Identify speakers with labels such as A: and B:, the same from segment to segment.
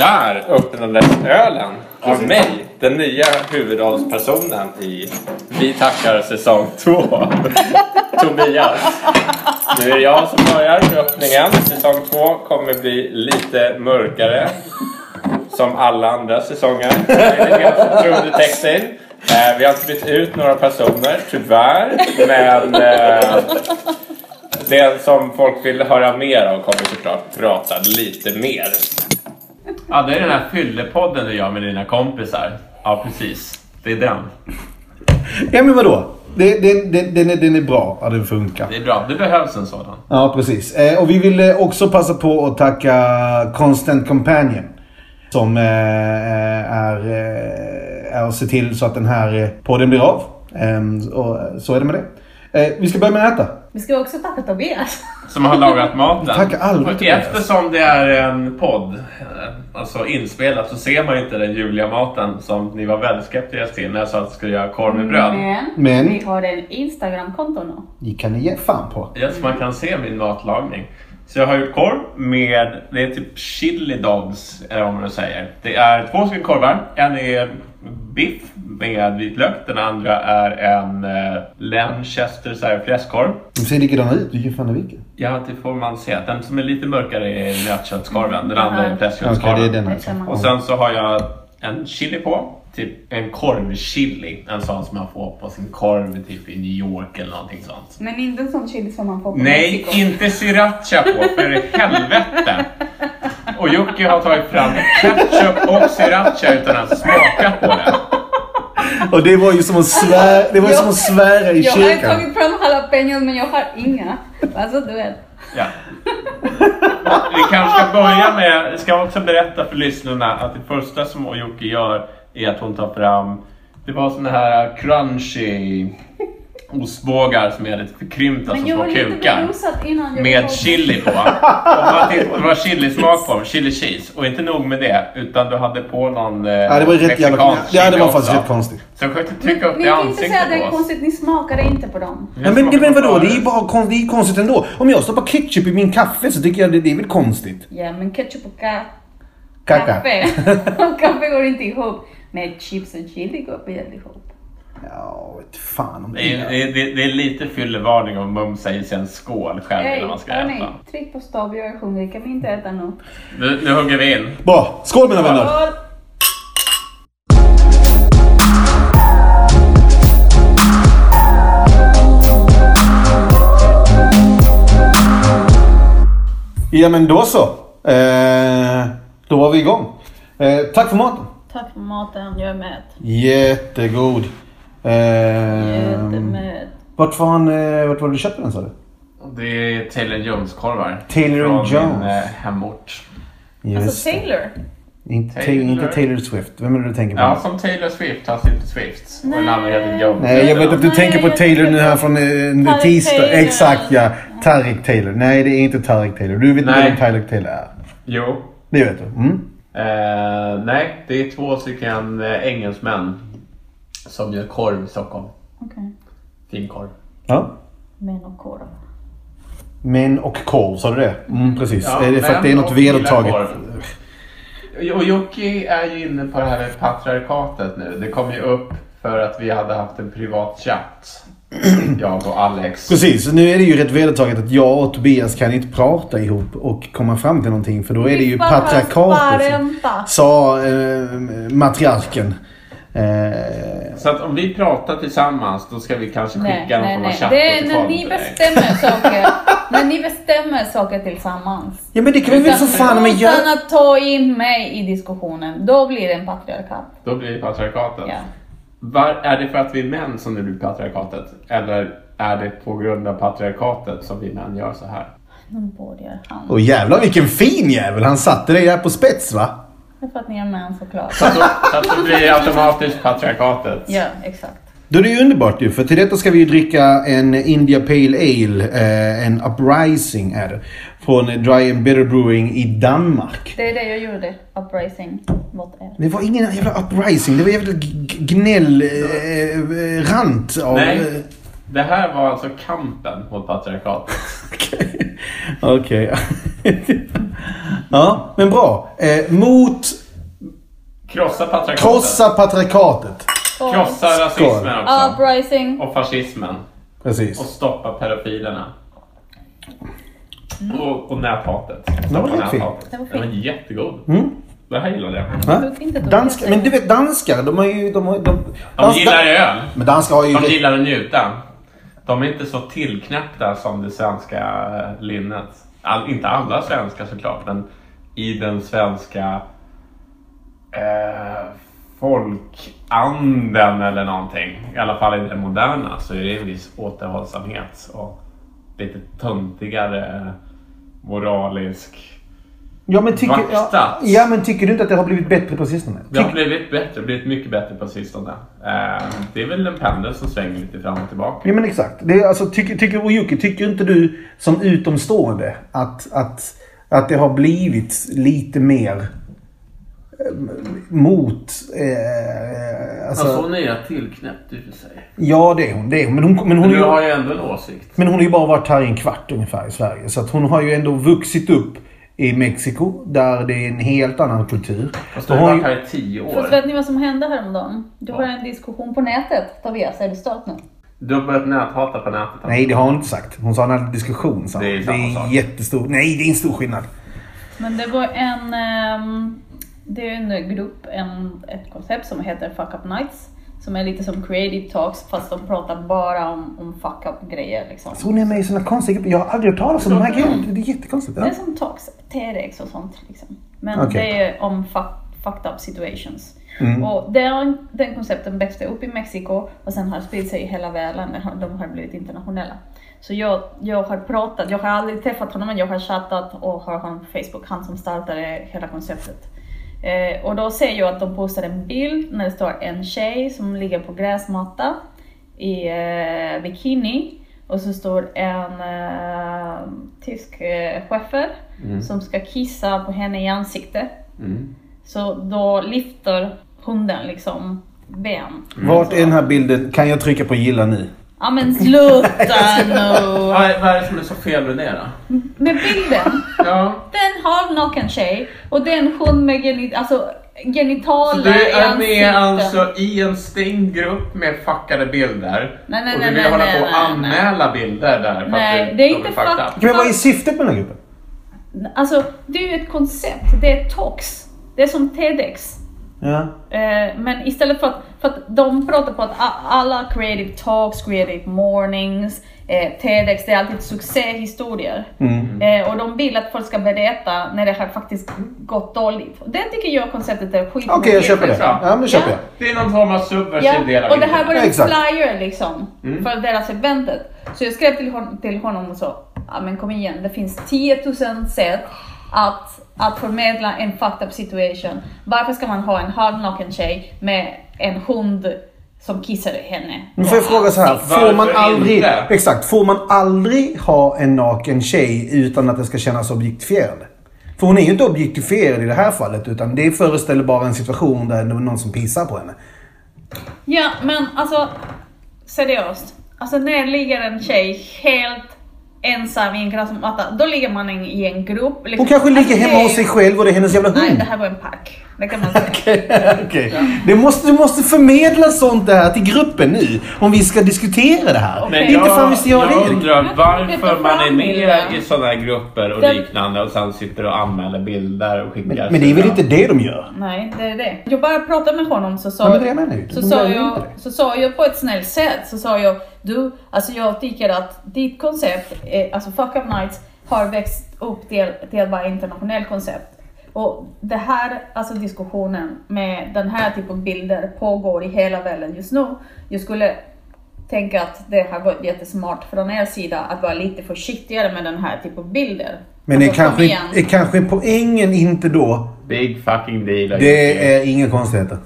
A: här öppnades ölen av mig, den nya huvudrollspersonen i Vi tackar säsong två. Tobias. Nu är det jag som börjar med öppningen. Säsong två kommer bli lite mörkare. Som alla andra säsonger. Det är lite grann förtroendetecken. Eh, Vi har inte bytt ut några personer, tyvärr. Men eh, det som folk vill höra mer av kommer såklart prata lite mer. Ja, det är den här fyllepodden du gör med dina kompisar. Ja, precis. Det är den.
B: Ja men vadå? Det, det, det, den, är, den är bra att den funkar.
A: Det är bra. Det behövs en sådan.
B: Ja precis. Eh, och vi vill eh, också passa på att tacka Constant Companion. Som eh, är, eh, är och ser till så att den här eh, podden blir av. Eh, och så är det med det. Eh, vi ska börja med att äta.
C: Vi ska också tacka Tobias.
A: Som har lagat maten.
B: Tack aldrig,
A: Och
B: Tobias.
A: Eftersom det är en podd, eh, alltså inspelat, så ser man ju inte den ljuvliga maten som ni var väldigt skeptiska till när jag sa att jag skulle göra korv
D: Mm,
A: med bröd.
C: Men,
B: Men-
C: vi har en Instagram-konto nu.
B: Det kan ni ge fan på.
A: Yes, man kan se min matlagning. Så jag har gjort korv med, det är typ chili dogs eller vad man säger. Det är två stycken korvar. En är biff med vitlök. Den andra är en eh, Lanchester så här, fläskkorv.
B: De ser likadana ut. Du ger fan i vilken.
A: Ja, det får man se. Den som är lite mörkare är nötköttskorven. Den andra är
B: Ja, Okej,
A: fläskköttskorven.
B: det är den
C: Det kan man.
B: alltså.
A: Och sen så har jag en chili på. Typ en korvchili. En sån som man får på sin korv typ i New York eller någonting sånt.
C: Men inte en sån chili som man får på
A: Nej,
C: Mexiko.
A: inte sriracha på för i helvete! Och Jocke har tagit fram ketchup och sriracha utan att smaka på det.
B: Och det var ju som att svära, det var ju som att svära i
C: Jag har
B: kyrkan.
C: tagit fram jalapeños men jag har inga. Alltså du vet.
A: Ja. Vi kanske ska börja med, jag ska också berätta för lyssnarna att det första som Jocke gör är att hon tar fram, det var såna här crunchy ostbågar som är lite förkrympta som
C: Men jag
A: små
C: var lite
A: kukar.
C: berusad innan jag
A: Med
C: kom.
A: chili på. Och man tittade, det var chilismak på dem, chili cheese. Och inte nog med det, utan du hade på någon eh,
B: Ja, det var ju rätt jävla...
A: mexikansk
B: Ja, det
A: chili
B: var faktiskt
A: också.
B: rätt konstigt.
A: Så jag försökte
C: Men,
A: trycka upp
C: men
A: det
C: jag kan inte säga att det
A: i
C: är
A: ansiktet på oss.
C: konstigt, ni smakade inte på dem.
B: Ja, men, men vadå, det är ju bara kon- det är ju konstigt ändå. Om jag stoppar ketchup i min kaffe så tycker jag det, det är väl konstigt.
C: Ja men ketchup och ka-
B: Kaka.
C: kaffe. och kaffe går inte ihop. Men chips och chili går väl ihop.
B: Ja, vet fan om det
A: Det är,
B: är.
A: det, är- det är lite fyllevarning om mumsa i sig en skål själv
C: Hej,
A: när man ska
C: hörni.
A: äta.
C: Tryck på stopp, jag är hungrig. Kan vi inte äta nu?
A: Nu, nu hugger vi in.
B: Bra, skål mina vänner. Ja men då så. Eh, då var vi igång. Eh, tack för maten.
C: Tack för maten, jag är mätt.
B: Jättegod.
A: Ehm,
B: Eh,
C: Jättemätt.
B: vart fan, eh, vart var det du köpte den sa du?
A: Det är Taylor Jones-korvar.
B: Taylor
A: Från
B: Jones.
A: min eh, hemort.
B: Just
C: Alltså
B: det.
C: Taylor.
B: Inte,
A: Taylor.
B: inte Taylor Swift. Vem är det du tänker på?
A: Ja, som Taylor Swift, fast inte Swift. Och en annan heter Jones.
B: Nej, jag vet att du
C: Nej,
B: tänker på
C: jag
B: Taylor
C: tänker
B: nu
C: på
B: här från eh,
C: Tareq
B: tisdag.
C: Taylor.
B: Exakt ja. Tareq Taylor. Nej, det är inte Tareq Taylor. Du vet inte
A: Nej.
B: vem Tareq Taylor är.
A: Jo.
B: Det vet du. Mm.
A: Eh, nej, det är två stycken eh, engelsmän som gör korv i Stockholm.
C: Okej.
A: Fin korv.
B: Ja.
C: Män och korv.
B: Men och korv, sa du det? Mm, precis.
A: Ja,
B: är det för att det är
A: men
B: något
A: och gillar
B: vedertaget?
A: korv. Och Jocke är ju inne på det här med patriarkatet nu. Det kom ju upp för att vi hade haft en privat chatt. Jag och Alex.
B: Precis, nu är det ju rätt vedertaget att jag och Tobias kan inte prata ihop och komma fram till någonting för då är det ju
C: Vi bara
B: patriarkatet. som-
C: sparränta.
B: Sa eh, matriarken. Eh,
A: Så att om vi pratar tillsammans då ska vi kanske
C: Nej,
A: skicka någon
C: nej,
A: form av
C: nej.
A: chatt
C: Det är
A: till
C: när
A: folk
C: ni
A: till dig.
C: bestämmer saker. när ni bestämmer saker tillsammans.
B: ja men det kan vi väl för fan men jag...
C: Utan att ta in mig i diskussionen. Då blir det en patriarkat.
A: Då blir det patriarkatet.
C: Ja.
A: Var, är det för att vi är män som det blir patriarkatet? Eller är det på grund av patriarkatet som vi män gör så här?
C: Nu borde han.
B: Åh jävlar vilken fin jävel! Han satte dig där på spets va?
C: Det är för att ni är män såklart.
A: Så att då, så att då blir det automatiskt patriarkatet.
C: Ja, exakt.
B: Då är det ju underbart ju, för till detta ska vi ju dricka en India Pale Ale, eh, en Uprising är det. Från Dry and Bitter Brewing i Danmark.
C: Det är det jag gjorde. Uprising mot er.
B: Det var ingen jävla Uprising, det var jävla g- g- gnäll, eh, eh, rant av... eh,
A: Nej, det här var alltså kampen mot patriarkatet.
B: Okej. Okej. ja, men bra. Eh, mot
A: Krossa patriarkatet.
B: Krossa patriarkatet.
D: Skål.
A: Krossa rasismen också.
D: Uprising.
A: Och fascismen.
B: Precis.
A: Och stoppa pedofilerna. Och, och näthatet.
B: Den var
A: Stoppa
B: rätt fin.
A: näthatet.
D: Den var fin.
A: Den var jättegod.
B: Mm. Alltså,
A: Det här gillade jag.
B: Va?
D: Sjukt inte dåligt.
B: Danskar, men du vet danskar, de har ju... De, har, de,
A: De
B: dans-
A: gillar öl.
B: Men danskar har ju...
A: De gillar att njuta. De är inte så tillknäppta som det svenska eh, linnet. All, inte alla svenskar såklart, men i den svenska eh, folkanden eller någonting. I alla fall i den moderna så är det en viss återhållsamhet och lite töntigare eh, moralisk.
B: Ja men, tycker, ja,
A: Vaktat.
B: ja men tycker du inte att det har blivit bättre på sistone?
A: Det har blivit bättre, blivit mycket bättre på sistone. Eh, det är väl en pendel som svänger lite fram och tillbaka.
B: Ja men exakt. Det är, alltså, tycker, tycker, och Jocke, tycker inte du som utomstående att, att, att det har blivit lite mer eh, mot... Eh, alltså,
A: Alltså hon är jag tillknäppt i och för sig.
B: ja det är hon. Det är hon. Men hon, men hon,
A: Men
B: är
A: nu
B: ju-
A: har jag ändå en åsikt.
B: Men hon har ju bara varit här i en kvart ungefär i Sverige. Så att hon har ju ändå vuxit upp i Mexiko där det är en helt annan kultur.
A: Fast du
B: Och
A: har
B: hon
A: varit
B: ju,
A: här i tio
D: Fast
A: år.
D: vet ni vad som hände häromdagen? Det var
A: Ja.
D: en diskussion på nätet. Tobias, är du stört nu?
A: Du har börjat näthata på nätet. alltså.
B: nej, det har hon inte sagt. Hon sa en annan diskussion. Så
A: Det är
B: det
A: samma
B: är
A: sak.
B: jättestor. Nej, det är en stor skillnad.
D: Men det var en... ehm, det är en grupp, en, ett koncept som heter Fuck Up Nights. Som är lite som Creative Talks fast de pratar bara om, om fuck up grejer liksom.
B: Så hon är med i sådana konstiga grupper. Jag har aldrig hört talas om de här grejerna. Det är jättekonstigt.
D: Det
B: Ja.
D: är som talks, TEDx och sånt liksom. Men
B: Okej.
D: det är om fuck, fucked up situations. Och den, den koncepten växte upp i Mexiko och sen har spridit sig i hela världen. Den har- De har blivit internationella. Så jag, jag har pratat, jag har aldrig träffat honom men jag har chattat och har honom på Facebook, han som startade hela konceptet. Eh, och då ser jag att de postar en bild när det står en tjej som ligger på gräsmatta i eh, bikini och så står en eh, tysk eh, chefer som ska kissa på henne i ansiktet.
A: Mm.
D: Så då lyfter hunden liksom ben.
B: Mm. Vart är den här bilden? Kan jag trycka på gilla nu?
D: Ja men sluta nu!
A: Vad, är, vad är det som är så fel med det då?
D: Men bilden,
A: Ja.
D: den har naken tjej och det är en hund med genit- alltså,
A: Så
D: genitaler
A: du
D: i
A: är med
D: ansiktet.
A: alltså i en stängd grupp med fuckade bilder.
D: Nej, nej,
A: och du
D: nej,
A: vill
D: nej,
A: hålla
D: nej,
A: på och
D: nej, nej.
A: anmäla bilder där. för att
D: Nej,
A: du-
D: det är
A: de
D: inte
A: fucked
D: fuck-
A: up.
B: Men vad är syftet med den här gruppen?
D: Alltså det är ju ett koncept, det är talks. Det är som TEDx.
B: Ja.
D: Eh, men istället för att, för att de pratar på att a- alla creative talks, creative mornings, eh, TEDx, det är alltid succéhistorier.
B: Mm.
D: Eh, och de vill att folk ska berätta när det har faktiskt gått dåligt. Och det tycker jag konceptet är skit.
B: Okej, jag köper det.
A: Ja.
B: Ja, men det köper
D: Ja.
B: jag.
A: Det är någon form av subversiv
D: Ja,
A: del av
D: och det här var
A: internet. Mm.
D: en
B: Exakt.
D: flyer liksom, för deras eventet. Så jag skrev till honom, till honom och sa, ja men kom igen, det finns 10 000 sätt att, att förmedla en fucked up situation. Varför ska man ha en halvnaken tjej med en hund som kissar i henne?
B: Nu får jag fråga så här. Får man
A: Varför
B: aldrig,
A: inte?
B: exakt, får man aldrig ha en naken tjej utan att det ska kännas objektifierande? För hon är ju inte objektifierad i det här fallet utan det föreställer bara en situation där det är någon som pissar på henne.
D: Ja, men alltså seriöst. Alltså när ligger en tjej helt ensam i en gräsmatta, då ligger man i- i en grupp. liksom.
B: Hon kanske
D: Alltså,
B: ligger
D: det
B: hemma
D: är-
B: hos sig själv och det är hennes jävla
D: Nej,
B: hund.
D: det här var en park. Det kan man säga.
B: Okej. Det måste, du måste förmedla sånt där till gruppen nu om vi ska diskutera det här.
A: Men
D: Okej.
B: Inte
A: jag,
B: fan visste jag
A: jag
B: det.
A: undrar varför
D: Flytta
A: man är
D: fram
A: med
D: bilden.
A: i sådana här grupper och
D: Den-
A: liknande och sen sitter och anmäler bilder och skickar.
B: Men, men det är väl inte det de gör?
D: Nej, det är det. Jag bara pratade med honom så
B: Ja,
D: sa,
B: men det är jag menar ju.
D: så
B: De
D: sa,
B: gör ju
D: jag,
B: inte det.
D: så sa jag på ett snällt sätt, så sa jag du, alltså jag tycker att ditt koncept, eh, alltså Fuck Up Nights, har växt upp till, till att vara ett internationellt koncept. Och det här, alltså diskussionen med den här typen av bilder pågår i hela världen just nu. Jag skulle tänka att det har varit jättesmart från er sida att vara lite försiktigare med den här typen av bilder.
B: Men är
D: Alltså, kom
B: kanske,
D: igen.
B: är kanske poängen inte då
A: Big fucking deal.
B: Det är inga konstigheter.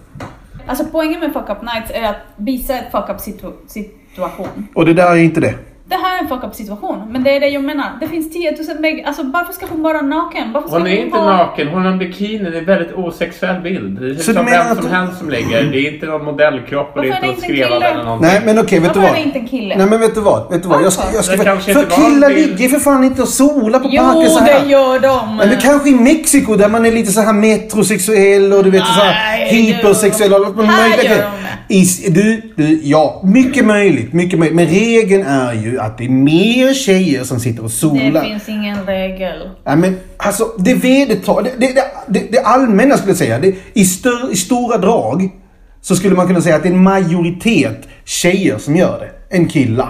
D: Alltså poängen med fuck up nights är att visa ett fuck up situ situation.
B: Och det där är inte det.
D: Det här är en fuck up situation, men det är det jag menar. Det finns 10 000 väggar. Alltså varför ska hon vara naken? Varför ska
A: Hon är inte
D: ha-
A: naken, hon har en bikini. Det är en väldigt osexuell bild. Det är
B: Så
A: som
B: du menar
A: vem
B: att
A: som
B: du-
A: helst som ligger. Det är inte någon modellkropp och det är
D: Varför
A: inte någon
D: är det inte en
A: skrevad
D: kille?
A: eller någonting.
B: Nej men okej, vet du
D: Varför
B: vad?
D: är det inte en kille?
B: Nej men vet du vad? Vet du vad? Jag ska, jag ska,
A: Det kanske
B: för
A: inte var en
B: killar
A: bild.
B: ligger för fan inte och solar på
D: Jo,
B: parken så här.
D: det gör de!
B: Eller kanske i Mexiko där man är lite så här metrosexuell och du vet så här.
D: Nej,
B: hypersexuella
D: gör
B: och
D: de-
B: allt möjligt.
D: Här gör de det.
B: Is, du, du, ja. Mycket möjligt, mycket möjligt. Men regeln är ju att det är mer tjejer som sitter och solar.
D: Det finns ingen regel.
B: Ja, men alltså det vedertar, det, det, det, det allmänna skulle jag säga, det, i, stör, i stora drag så skulle man kunna säga att det är en majoritet tjejer som gör det, än killar.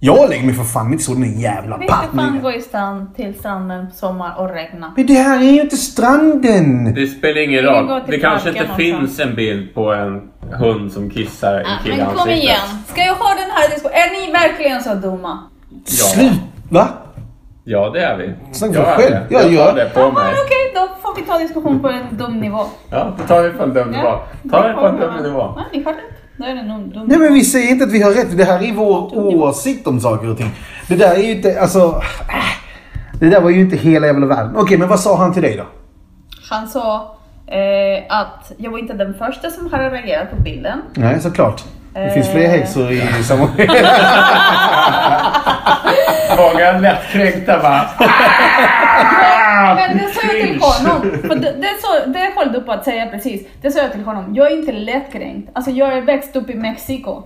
B: Jag lägger mig för fan inte i solen den jävla
D: Vi ska fan gå
B: paddningen.
D: i strand, till stranden på sommar och regna.
B: Men det här är ju inte stranden!
A: Det spelar ingen
D: Vi går
A: roll.
D: till
A: Det kanske
D: parken
A: inte finns
D: någonstans.
A: en bild på en hund som kissar
D: Ah,
A: en kille i
D: men kom
A: ansiktet.
D: igen, ska jag ha den här diskussionen? Är ni verkligen så dumma?
B: Slut! Va?
A: Ja, det är vi.
B: Snacka
A: Jag är
B: själv.
A: det.
B: Jag
A: Jag
B: gör.
A: tar det på mig.
D: Men Okej, då får vi ta diskussion på en dum nivå.
A: Ja, då tar vi på en dum nivå. Ta det på en dum nivå.
D: Ja, ni hörde inte. Då är det en dum
B: Nej men vi säger inte att vi har rätt, det här är vår åsikt om saker och ting. Det där är ju inte, alltså... äh, Det där var ju inte hela jävla världen. Okej, men vad sa han till dig då?
D: Han sa eh, att jag var inte den första som hade reagerat på bilden.
B: Nej, Eh. såklart. Det finns fler häxor i samma...
A: Många lättkränkta bara.
D: Men det sa jag till honom. För det, det, så, det höll du på att säga precis. Det sa jag till honom. Jag är inte lättkränkt. Alltså jag är växt upp i Mexiko.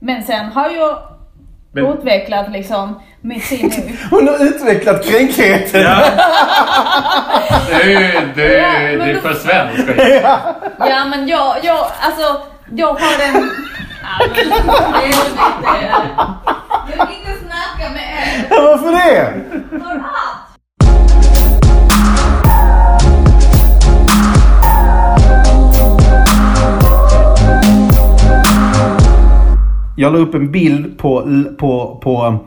D: Men sen har jag
A: Men-
D: utvecklat liksom mitt sinne.
B: Hon har utvecklat kränkheten.
A: Ja. Du, du,
D: Ja, men
A: du är
D: då-
A: för svensk.
D: Ja men jag, jag, alltså jag har en... Ja, men, helvete. Jag vill inte snacka med er.
B: Ja, Varför det? Jag la upp en bild på, på, på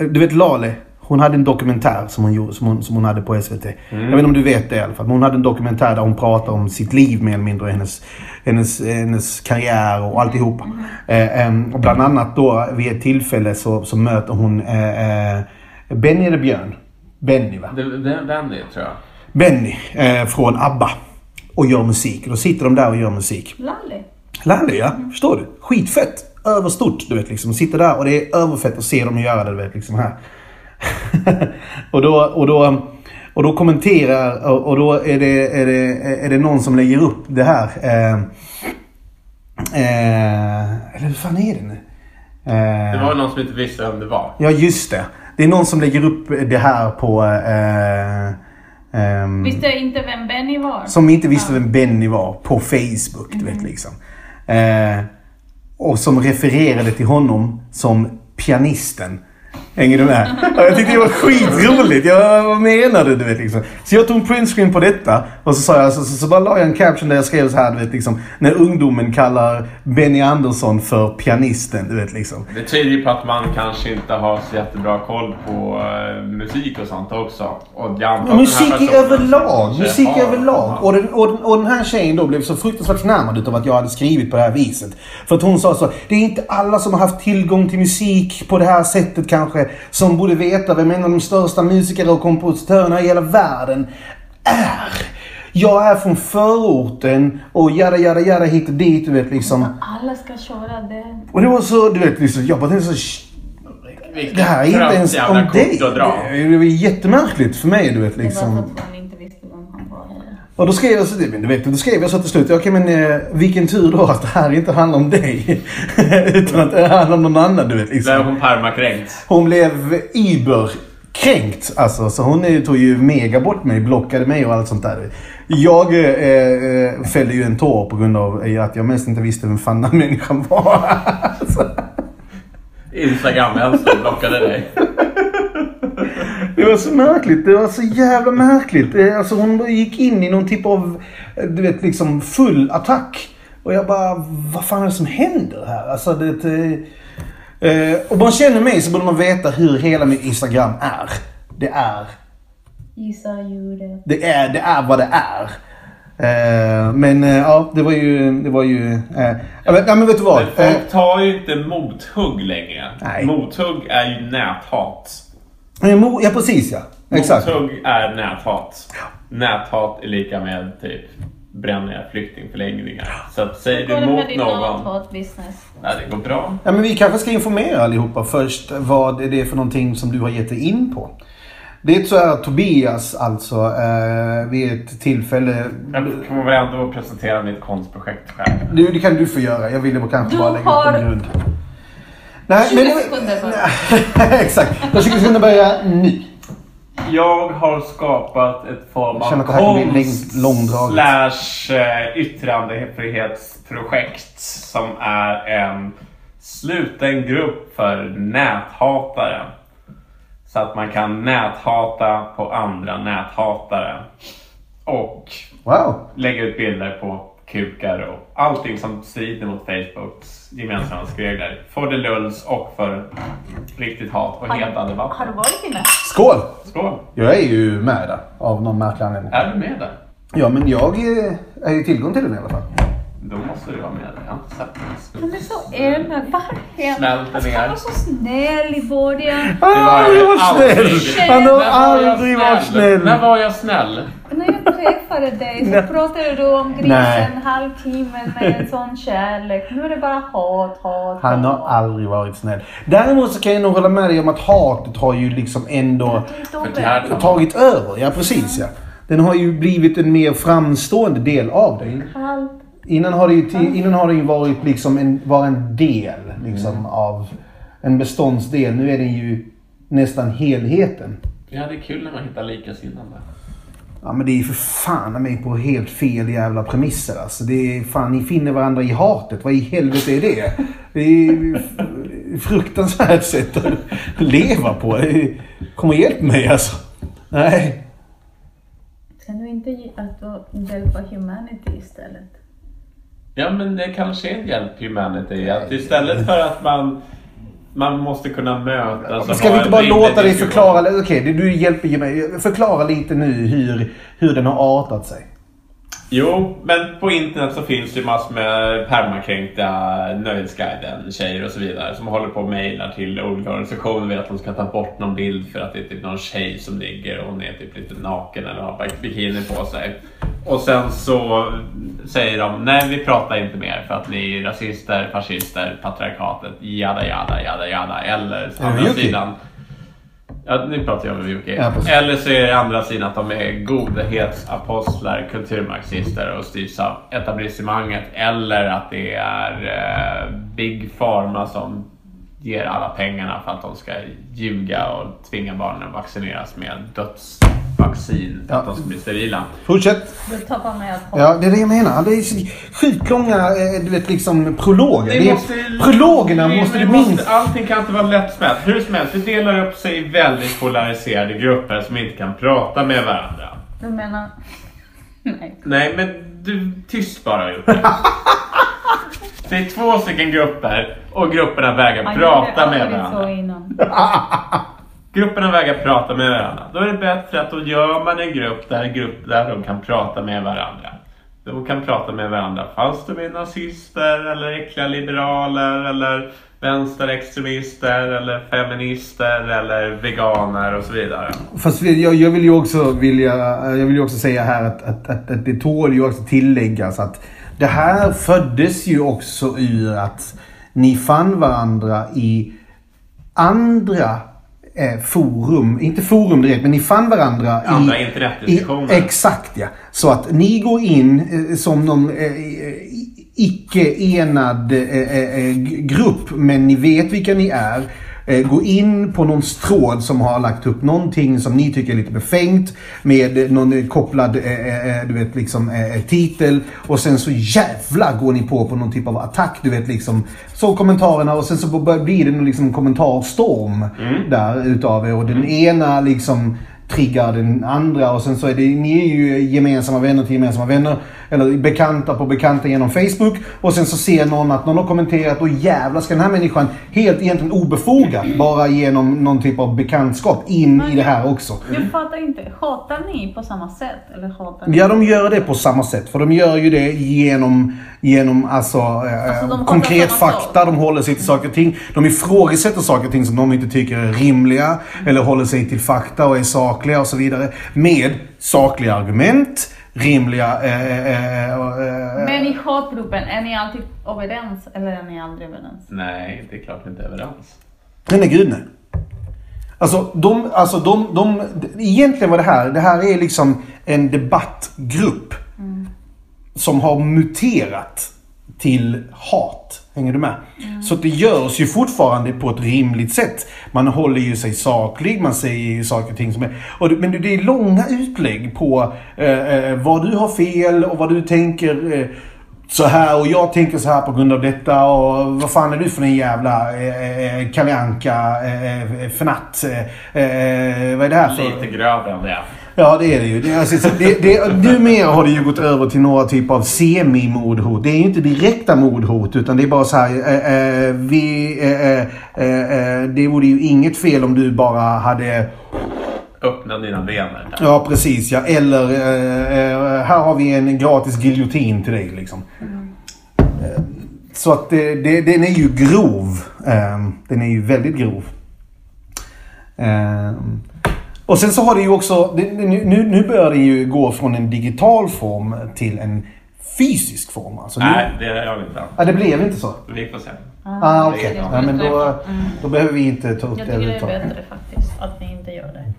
B: eh, du vet Lale, hon hade en dokumentär som hon, gjorde, som hon, som hon hade på SVT. Jag vet inte om du vet det i alla fall. Men hon hade en dokumentär där hon pratade om sitt liv mer eller mindre. Hennes, hennes, hennes karriär och alltihopa. Eh, em, och bland annat då vid ett tillfälle så, så möter hon eh, eh, Benny eller Björn? Benny va?
A: Det- det- Den är tror jag.
B: Benny eh, från ABBA. Och gör musik. Och då sitter de där och gör musik.
D: Lalli.
B: Landy ja, förstår du? Skitfett! Överstort, du vet liksom. Sitter där och det är överfett att se dem göra det, du vet liksom här. och, då, och, då, och då kommenterar, och, och då är det, är, det, är det någon som lägger upp det här. Eh, eh, eller hur fan är det nu? Eh,
A: Det var någon som inte visste vem det var.
B: Ja, just det. Det är någon som lägger upp det här på... Eh, ehm,
D: Visste jag inte vem Benny var?
B: som inte visste vem Benny var på Facebook, du vet liksom. Eh, och som refererade till honom som pianisten. Hänger du med? Och jag tyckte det var skitroligt. Jag, vad menar du? Du vet liksom. Så jag tog en printscreen på detta och så sa jag, så, så, så bara la jag en caption där jag skrev så här, du vet liksom. När ungdomen kallar Benny Andersson för pianisten, du vet liksom.
A: Det tyder ju på att man kanske inte har så jättebra koll på eh, musik och sånt också. Och jag antar att den här
B: Musik i
A: personen
B: överlag.
A: kanske
B: Musik i
A: har-
B: överlag. Och den, och, den, och den här tjejen då blev så fruktansvärt förnärmad utav att jag hade skrivit på det här viset. För att hon sa så, det är inte alla som har haft tillgång till musik på det här sättet kanske, som borde veta vem en av de största musikerna och kompositörerna i hela världen är. Jag är från förorten och jada jada jada hit och dit, du vet liksom.
D: Alla ska köra det.
B: Och det var så, du vet liksom, jag bara tänkte så,
A: Vilket
B: det här är inte
A: trött
B: ens
A: jävla
B: om
A: kort
B: dig.
A: att dra.
B: Det det var jättemärkligt för mig, du vet
D: Det var
B: liksom.
D: för att han inte visste vem han var heller.
B: Och då skrev jag så, men du vet, då skrev jag så till slut, okej men eh, vilken tur då att det här inte handlar om dig. Utan att det handlar om någon annan, du vet.
A: Blev
B: Liksom.
A: hon permakränkt?
B: Hon blev iber kränkt alltså. Så hon eh, tog ju mega bort mig, blockade mig och allt sånt där. Jag eh, eh, fällde ju en tår på grund av eh, att jag mest inte visste vem fan den här människan var. Alltså,
A: Instagram-hälsan blockade dig.
B: Eh. det var så märkligt, det var så jävla märkligt. Eh, Alltså hon gick in i någon typ av, eh, du vet liksom full attack. Och jag bara, vad fan är det som händer här? Alltså det... eh, Eh, om man känner mig så borde man veta hur hela mitt Instagram är. Det är
D: Gissa ljudet.
B: det är, det är vad det är. Eh, men eh, ja, det var ju... Det var ju eh, ja, men, ja, men vet du vad?
A: Men
B: Eh,
A: folk tar ju inte mothugg längre.
B: Nej.
A: Mothugg är ju näthat.
B: men mo- Eh, ja, precis ja. Exakt.
A: Mothugg är näthat. Näthat är lika med typ bränniga flyktingförläggningar. Så att säger du
D: Går det med
A: emot
D: din
A: någon...
D: avtal business?
A: Nej, det går bra.
B: Ja, men vi kanske ska informera allihopa först vad är det för någonting som du har gett dig in på. Det så är Tobias alltså eh, vid ett tillfälle...
A: Jag får väl ändå presentera mitt konstprojekt själv.
B: Nu, det kan du få göra. Jag ville bara kanske
D: Du
B: bara lägga upp
D: har-
B: en grund. Nej,
D: 20 sekunder bara.
B: Nej, Exakt. Jag tycker vi ska börja nu.
A: Jag har skapat ett form
B: Jag känner
A: av
B: att det här kommer bli
A: konst
B: läng- långdraget.
A: slash eh, yttrandefrihetsprojekt som är en sluten grupp för näthatare. Så att man kan näthata på andra näthatare. Och
B: Wow.
A: lägga ut bilder på kukar och allting som strider mot Facebooks gemensamma regler. För det lulls och för riktigt hat och heta
D: Har du
A: debatter.
D: varit inne?
B: Skål!
A: Skål!
B: Jag är ju med där, av någon märklig anledning.
A: Är du med där?
B: Ja, men jag eh, är ju tillgång till den i alla fall.
A: Då måste du vara med där. Jag har inte sett den.
D: Han är så öm. Varje...
A: Smälter
D: Alltså, han
A: ner.
D: var så snäll i början.
A: var
B: Aldrig varit
A: aldrig.
B: Ah, snäll! Han har
D: När
B: aldrig varit
A: När
B: snäll!
A: var jag snäll?
D: När jag träffade dig så pratade du om grisen
B: Nej.
D: en halvtimme med en sån kärlek. Nu är det bara hat, hat,
B: Han har
D: hat.
B: aldrig varit snäll. Däremot så kan jag nog hålla med dig om att hatet har ju liksom ändå
D: Det är
A: För
D: dubbelt.
A: det här-
B: tagit över. Ja, precis ja. Den har ju blivit en mer framstående del av dig.
D: Allt.
B: Innan har det ju, ti- innan har det ju varit liksom en, var en del liksom, av en beståndsdel. Nu är den ju nästan helheten.
A: Vi hade kul när man hittade likasinnande.
B: Ja men det är ju för fan mig på helt fel jävla premisser alltså. Det är fan, ni finner varandra i hatet. Vad i helvete är det? Det är ju f- fruktansvärt sätt att leva på. Det är- Kom och hjälp mig alltså. Nej.
D: Kan du inte ge, att då hjälpa humanity istället?
A: Ja men det kanske är en hjälp humanity. Att istället för att man, man måste kunna mötas och
B: Ska
A: ha
B: vi
A: Alltså,
B: inte
A: en
B: bara
A: rimlig
B: låta dig
A: diskussion.
B: förklara? Okej, du- du hjälper ju mig. Förklara lite nu hur, hur den har artat sig.
A: Jo, men på internet så finns det massor med permakränkta Nöjesguiden tjejer och så vidare som håller på och mejlar till olika organisationer och vill att de ska ta bort någon bild för att det är typ någon tjej som ligger och hon är typ lite naken eller har bikini på sig. Och sen så säger de nej vi pratar inte mer för att ni är rasister, fascister, patriarkatet, jada jada jada jada. Eller å andra
B: Yuki?
A: sidan Ja, nu pratar jag med Jocke.
B: Ja, precis.
A: Eller så är det andra sidan att de är godhetsapostlar, kulturmarxister och styrs av etablissemanget. Eller att det är eh, Big Pharma som ger alla pengarna för att de ska ljuga och tvinga barnen att vaccineras med dödsvaccin för att
B: Ja.
A: de ska bli sterila.
B: Fortsätt.
D: Du tappar mig allt hat.
B: Ja, det är det jag menar. Det är så skitlånga eh, du vet, liksom, prologer. Det är, prologerna
A: det-
B: måste
A: det
B: du minst...
A: Allting kan inte vara lättsmält. Hur som helst, det delar upp sig i väldigt polariserade grupper som inte kan prata med varandra.
D: Du menar... Nej.
A: Nej, men du tyst bara har gjort det. Det är två stycken grupper och grupperna vägrar
D: Man
A: prata
D: gjorde
A: med
D: aldrig så
A: varandra.
D: innan.
B: Ah,
A: Grupperna vägrar prata med varandra. Då är det bättre att då gör man en grupp där, en grupp där de kan prata med varandra. De kan prata med varandra fast de är nazister eller äckliga liberaler eller vänsterextremister eller feminister eller veganer och så vidare.
B: Fast jag, jag, vill ju också vilja, eh, jag vill ju också säga här att, att, att, att det tål ju också tilläggas att det här föddes ju också ur att ni fann varandra i andra eh, forum, inte forum direkt, men ni fann varandra
A: Andra
B: i...
A: internetdiskussioner.
B: i- Exakt ja. Så att ni går in eh, som någon eh, i- icke-enad eh, eh, eh, g- grupp, men ni vet vilka ni är. Eh, Gå in på någon tråd som har lagt upp någonting som ni tycker är lite befängt med eh, någon eh, kopplad eh, eh, eh, du vet, liksom, eh, eh, titel och sen så jävla går ni på på någon typ av attack. Du vet liksom så kommentarerna och sen så bör- blir det en liksom kommentarstorm där utav er och den ena liksom triggar den andra och sen så är det, ni är ju gemensamma vänner till gemensamma vänner. Eller bekanta på bekanta genom Facebook. Och sen så ser någon att någon har kommenterat och jävlar ska den här människan helt egentligen obefogat bara genom någon typ av bekantskap in i det här också.
D: Jag fattar inte. Hatar ni på samma sätt? Eller hatar ni?
B: Ja, de gör det på samma sätt. För de gör ju det genom, genom alltså, eh,
D: de håller
B: konkret
D: samma
B: fakta. De håller sig till saker och ting. De ifrågasätter saker och ting som de inte tycker är rimliga.
D: Mm.
B: Eller håller sig till fakta och är sakliga och så vidare. Med sakliga argument, rimliga... Eh, eh, eh, och, eh,
D: Men i hatgruppen, är ni alltid överens eller är ni aldrig överens?
A: Nej, det är klart inte överens.
B: nej, nej, gud nej. Alltså, de, alltså de, de, egentligen var det här, det här är liksom en debattgrupp. Som har muterat till hat. Hänger du med? Så att det görs ju fortfarande på ett rimligt sätt. Man håller ju sig saklig, man säger ju saker och ting som är... Och det, men det är långa utlägg på eh, eh, vad du har fel och vad du tänker eh, så här och jag tänker så här på grund av detta och vad fan är du för en jävla eh, eh, Kalle Anka eh, eh, fnatt? Eh, eh, vad är det här för...
A: Lite grövre än det.
B: Ja, det är det ju. Det, är alltså, så det, det, numera har det ju gått över till några typ av semi-mordhot. Det är ju inte direkta mordhot, utan det är bara så här. Eh, eh, vi, eh, eh, eh, eh, det vore ju inget fel om du bara hade...
A: Öppna dina vener. Där.
B: Ja, precis. Ja. Eller eh, eh, här har vi en gratis giljotin till dig. Liksom. Eh, Så att det, det, den är ju grov. Eh, Den är ju väldigt grov. Eh, Och sen så har det ju också, det- det- nu, nu- nu börjar det ju gå från en digital form till en fysisk form. Alltså nu,
A: Nej, det gör vi inte än.
B: Ja, det blev inte så.
A: Vi får se.
B: Ah, okej.
A: det är
B: Ja, men då, då behöver vi inte ta upp det
D: Jag tycker det är
B: överhuvudtaget.
D: bättre faktiskt att ni inte gör det.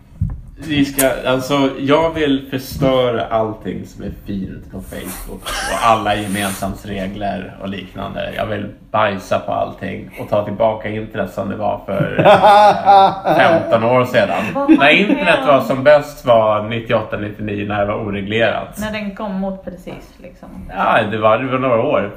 A: Vi ska, alltså, jag vill förstöra allting som är fint på Facebook och alla gemensamsregler och liknande. Jag vill bajsa på allting och ta tillbaka internet som det var för eh, 15 år sedan. När internet var som bäst var 98-99 när det var oreglerat.
D: När den kom mot precis liksom.
A: Ja, det var, det var några år,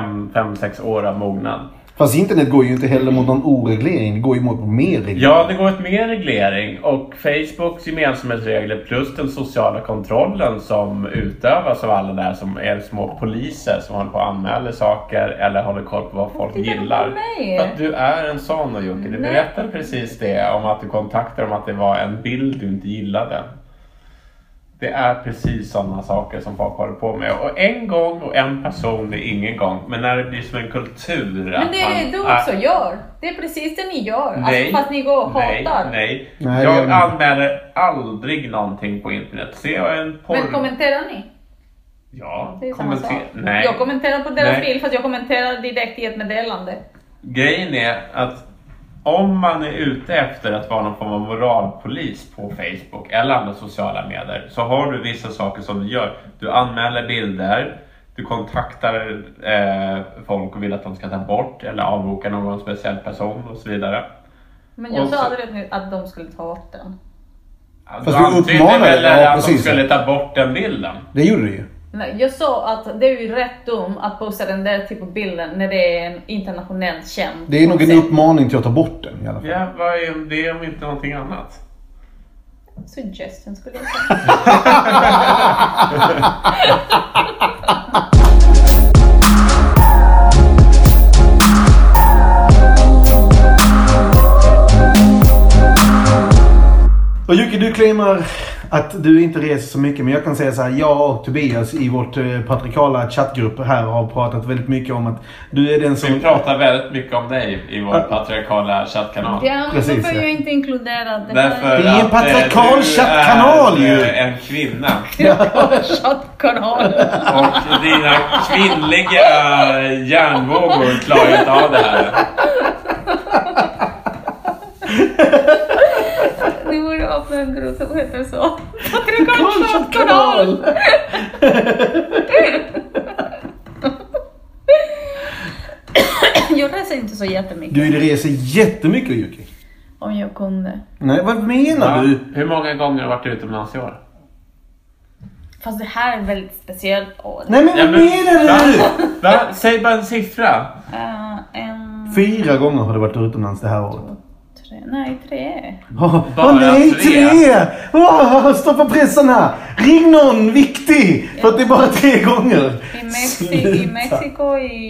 A: 5-6 år av mognad.
B: Fast internet går ju inte heller mot någon oreglering. Det går ju mot mer reglering.
A: Ja, det går ett mer reglering och Facebooks gemensamhetsregler plus den sociala kontrollen som utövas av alla där som är små poliser som håller på och anmäler saker eller håller koll på vad folk
D: tittar de på
A: gillar.
D: mig?
A: För att du är en sån och Jocke, du
D: Nej.
A: berättade precis det om att du kontaktade dem att det var en bild du inte gillade. Det är precis sådana saker som folk håller på med. Och en gång och en person är ingen gång. Men när det blir som en kultur.
D: Men
A: att
D: det är det du
A: man
D: också gör. Det är precis det ni gör. Alltså, fast ni går och
A: nej,
D: hatar.
A: nej.
B: Nej, det gör
A: jag
B: vi
A: anmäler aldrig någonting på internet. Ser jag en porr...
D: Men kommenterar ni?
A: Ja,
D: Det är samma
A: kommenter...
D: sak.
A: Nej.
D: Jag kommenterar på deras
A: Nej.
D: bild fast jag kommenterar direkt i ett meddelande.
A: Grejen är att om man är ute efter att vara någon form av moralpolis på Facebook eller andra sociala medier så har du vissa saker som du gör. Du anmäler bilder, du kontaktar eh, folk och vill att de ska ta bort eller avboka någon speciell person och så vidare.
D: Men jag
A: Och
D: sa
A: så-
D: aldrig att, ni, att de skulle ta bort den.
B: Fast du
A: antydde
B: uppmanar-
A: väl
B: ja,
A: att de
B: precis.
A: skulle ta bort den bilden?
B: Det gjorde det ju.
D: Nej, jag sa att det är ju rätt dumt att posta den där typen av bilden när det är en internationellt känd.
B: Det är nog en
D: koncept.
B: uppmaning till att ta bort den i alla fall.
A: Ja, vad är det om inte någonting annat?
D: Suggestion skulle jag säga.
B: Och Jocke, du claimar att du inte reser så mycket, men jag kan säga så här. Jag och Tobias i vårt eh, patriarkala chattgrupp här har pratat väldigt mycket om att du är den som...
A: Vi pratar väldigt mycket om dig i vår patriarkala chattkanal.
D: Ja, men då
B: Precis,
D: får
B: ja.
D: jag inte inkludera det
A: Därför
B: Det är en
A: att,
B: patriarkal
A: eh, du
B: chattkanal
A: är,
B: ju.
A: eh, en kvinna.
D: här chattkanalen.
A: Och dina kvinnliga hjärnvågor klarar inte av det här.
D: Ni borde öppna en grupp som heter så. Patriarkal chattkanal! Jag reser inte så jättemycket.
B: Du reser jättemycket Jocke.
D: Om jag kunde.
B: Nej, vad menar
A: Va?
B: du?
A: Hur många gånger har du varit utomlands i år?
D: Fast det här är ett väldigt speciellt år.
B: Nej men
A: Ja,
B: vad
A: men-
B: menar du?
A: Va? Säg bara en siffra.
D: Eh, en,
B: Fyra gånger har du varit utomlands det här året.
D: tre, nej tre.
B: Åh
A: Bara
B: åh, nej,
A: tre.
B: tre! Åh, stoppa pressarna! Ring någon viktig! För att det är bara tre gånger.
D: I, Mexi, I
B: Sluta.
D: Mexiko, i,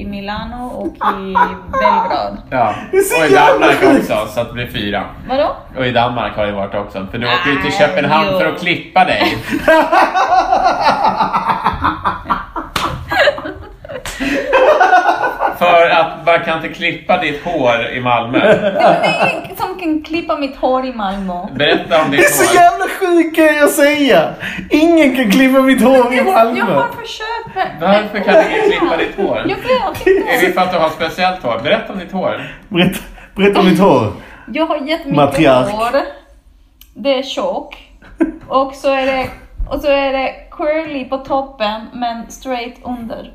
D: i Milano och i Belgrad.
A: Ja.
B: Det är så
A: Och i
B: jävla
A: Danmark
B: sjukt.
A: också, så att det blir fyra.
D: Vadå?
A: Och i Danmark har jag varit också. För du åker ju till
D: Nej,
A: Köpenhamn
D: jo.
A: för att klippa dig. för att man kan inte klippa ditt hår i Malmö.
D: Det är ingen som kan klippa mitt hår i Malmö.
A: Berätta om
B: Det är
A: ditt
B: så
A: hår.
B: jävla sjukt kan jag säga! Ingen kan klippa mitt hår i
D: Jag
B: Malmö.
D: har försökt. men-
A: Varför kan ingen klippa ditt hår?
D: Jag vet inte.
A: Är det för att du har speciellt hår? Berätta om ditt hår.
B: Berätta, berätta om ditt hår.
D: Jag har jättemycket
B: Matriark.
D: hår. Det är tjock. Och så är det, och så är det curly på toppen men straight under.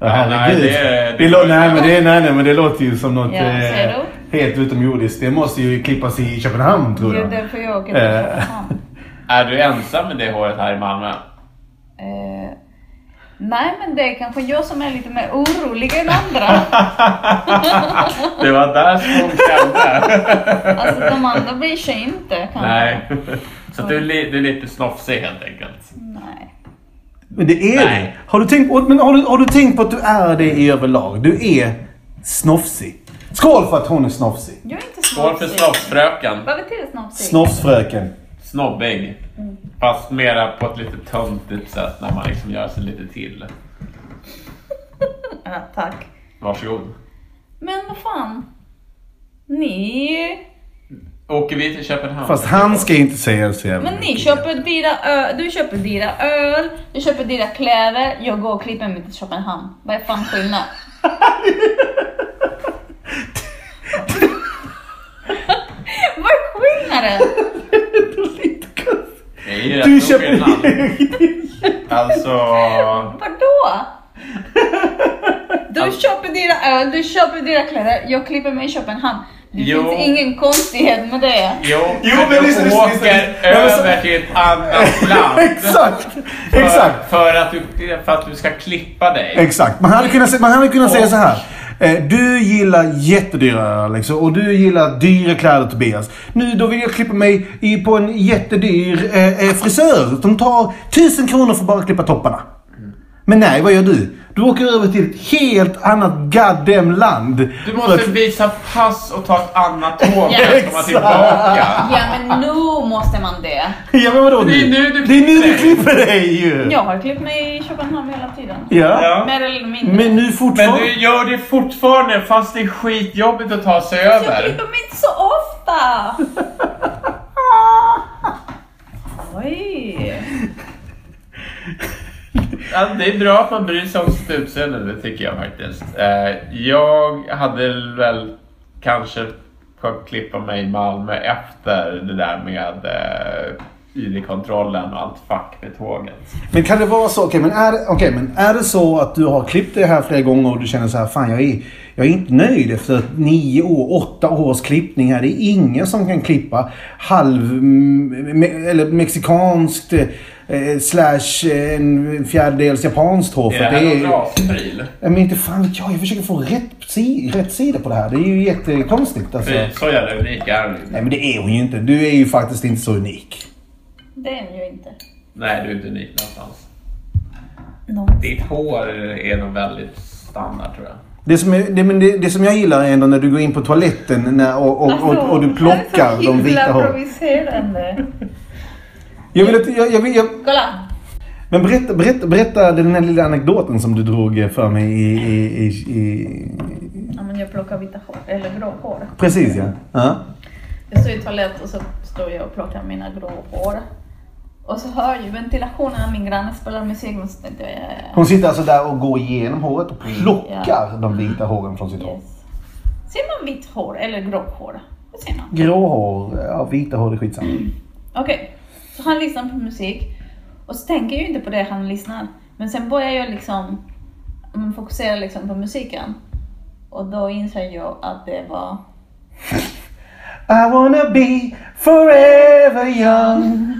B: Ja, herregud.
A: nej, det är-
B: Det lå- nej, men det, är- nej, nej, men det låter ju som något
D: Ja, ser
B: eh, helt utomjordiskt. Det måste ju klippas i Köpenhamn tror
D: Det är
B: jag.
D: därför jag åker
B: Eh.
D: till Köpenhamn.
A: Är du ensam med det håret här i Malmö?
D: Eh, nej men det är kanske jag som är lite mer orolig än andra.
A: Det var där skon klämde.
D: Alltså de andra bryr sig inte kanske.
A: Nej. Så du, är li- du är lite snofsig helt enkelt.
D: Nej.
B: Men det är
A: Nej.
B: det. Har du, tänkt, men har, du, har du tänkt på att du är det i överlag? Du är snofsig. Skål för att hon är snofsig.
D: Jag är inte
A: Skål för
D: snofsig.
A: snofsfröken.
D: Vad betyder snofsig?
B: Snofsfröken.
A: Snobbig. Fast mera på ett lite töntigt sätt när man liksom gör sig lite till.
D: ja, tack.
A: Varsågod.
D: Men vad fan. Ni...
A: Åker vi till Köpenhamn?
B: Fast han ska ju inte säga så jävla
D: Men ni
B: mycket.
D: köper dyra öl, du köper dyra öl, du köper dyra kläder, jag går och klipper mig till Köpenhamn. Vad är fan skillnad? Vad är skillnaden?
A: Det är ju rätt
B: Du
A: stor
B: köper...
A: skillnad. Alltså...
D: Vadå? Du köper dyra öl, du köper dyra kläder, jag klipper mig i Köpenhamn. Det
A: Jo.
D: finns ingen konstighet med det.
A: Jo,
B: Jo,
A: men
B: men
A: du
B: lyssna, lyssna,
A: åker
B: lyssna. Nej, men så-
A: över till ett annat land.
B: exakt!
A: För,
B: Exakt!
A: För att, du, för att du ska klippa dig.
B: Exakt. Man hade kunnat, sä- man hade kunnat säga så här. Eh, Du gillar jättedyra öl liksom, och du gillar dyra kläder Tobias. Nu då vill jag klippa mig i, på en jättedyr eh, eh, frisör. De tar tusen kronor för att bara klippa topparna. Men nej, vad gör du? Du åker över till ett helt annat goddamn land.
A: Du
B: för
A: måste
B: att-
A: visa pass och ta ett annat tåg
D: Ja.
A: för att komma tillbaka.
D: Ja men nu måste man det.
B: Ja, men vadå?
A: Det är nu du
B: det är nu
A: klipper
B: du
A: dig.
B: klipper dig ju!
D: Jag har klippt mig i Köpenhamn hela tiden.
B: Ja.
A: Ja.
D: Mer eller mindre.
B: Men nu
A: Men
B: fortfarande...
A: du gör det fortfarande fast det är skitjobbigt att ta sig
D: Jag
A: över.
D: klipper mig inte så ofta! Oj!
A: Ja, det är bra att man bryr sig om sitt utseende, det tycker jag faktiskt. Eh, Jag hade väl kanske fått klippa mig i Malmö efter det där med eh, ID-kontrollen och allt fuck med tåget.
B: Men kan det vara så, okej men, är, det- okej men är det så att du har klippt dig här flera gånger och du känner så här, fan jag är, jag är inte nöjd efter ett nio år, åtta års klippning här. Det är ingen som kan klippa halv, mm, me, eller mexikanskt eh, slash eh, en fjärdedels japanskt hår.
A: Är
B: För
A: det
B: att
A: här någon
B: är,
A: raspryl?
B: jag men inte fan vet jag, jag försöker få rätt, si, rätt sida på det här. Det är ju jättekonstigt alltså.
A: Fy, Så jävla unik är hon
B: Nej
A: inte.
B: men det är hon ju inte. Du är ju faktiskt inte så unik.
D: Det är den ju inte.
A: Nej, du är inte unik någonstans.
D: No.
A: Ditt hår är nog väldigt standard tror jag.
B: Det som, är, det, men det, det som jag gillar är ändå när du går in på toaletten när, och, och,
D: Alltså,
B: och, och du plockar de vita håren.
D: provocerande.
B: Jag vill att, jag, jag vill, jag,
D: Kolla!
B: men berätta, berätta, berätta den här lilla anekdoten som du drog för mig i... i, i, i
D: Ja, men jag plockar vita hår, eller grå hår.
B: precis ja. ja.
D: Jag står i toalett och så står jag och plockar mina grå hår. Och så hör ju ventilationen när min granne spelar musik. Men så tänkte jag, ja, ja,
B: Hon sitter alltså där och går igenom håret och plockar de vita håren från sitt
D: ja.
B: hår.
D: Yes. Ser man vitt hår eller grå hår? Vad ser man?
B: Grå hår, ja vita hår det är skitsamma.
D: Okej, så han lyssnar på musik och så tänker jag ju inte på det han lyssnar. Men sen börjar jag liksom mm, fokusera liksom på musiken. Och då inser jag att det var...
B: I wanna be forever young.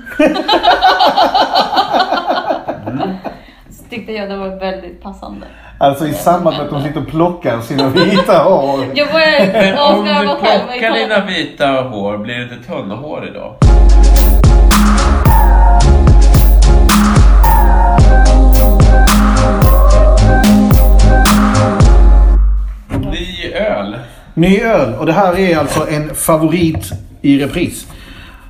D: Så tyckte jag det var väldigt passande.
B: Alltså i samband med att hon sitter och plockar sina vita hår.
D: Jag började
A: Men om
D: avslöja
A: du
D: mig själv i
A: plockar dina
D: toaletten.
A: vita hår, blir du inte tunnhårig då? Ny öl.
B: Ny öl och det här är alltså en favorit i repris.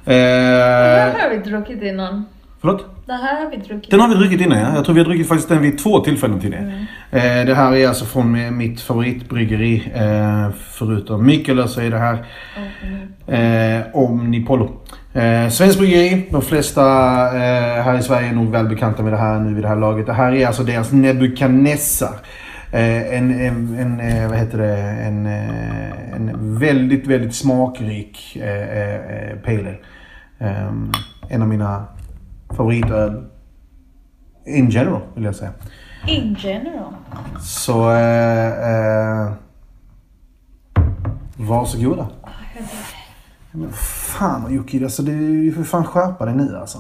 D: Det
B: Eh,
D: här har vi druckit innan.
B: förlåt?
D: Det här har vi druckit.
B: Den har vi druckit innan ja. Jag tror vi har druckit faktiskt den vid två tillfällen till det. Eh, det här är alltså från mi- mitt favoritbryggeri. Eh, förutom Mikkelö så är det här eh, Omnipollo. Eh, Svensk bryggeri. De flesta eh, här i Sverige är nog välbekanta med det här nu vid det här laget. Det här är alltså deras Nebuchadnezzar. Eh, Eh, En, en, en, eh, vad heter det, en, eh, en väldigt, väldigt smakrik eh, eh, eh, pale ale. Ehm, En av mina favoritöl. In general, vill jag säga.
D: In general.
B: Så... Eh, eh, varsågoda. Men fan Jocke, alltså du får fan skärpa dig nu alltså.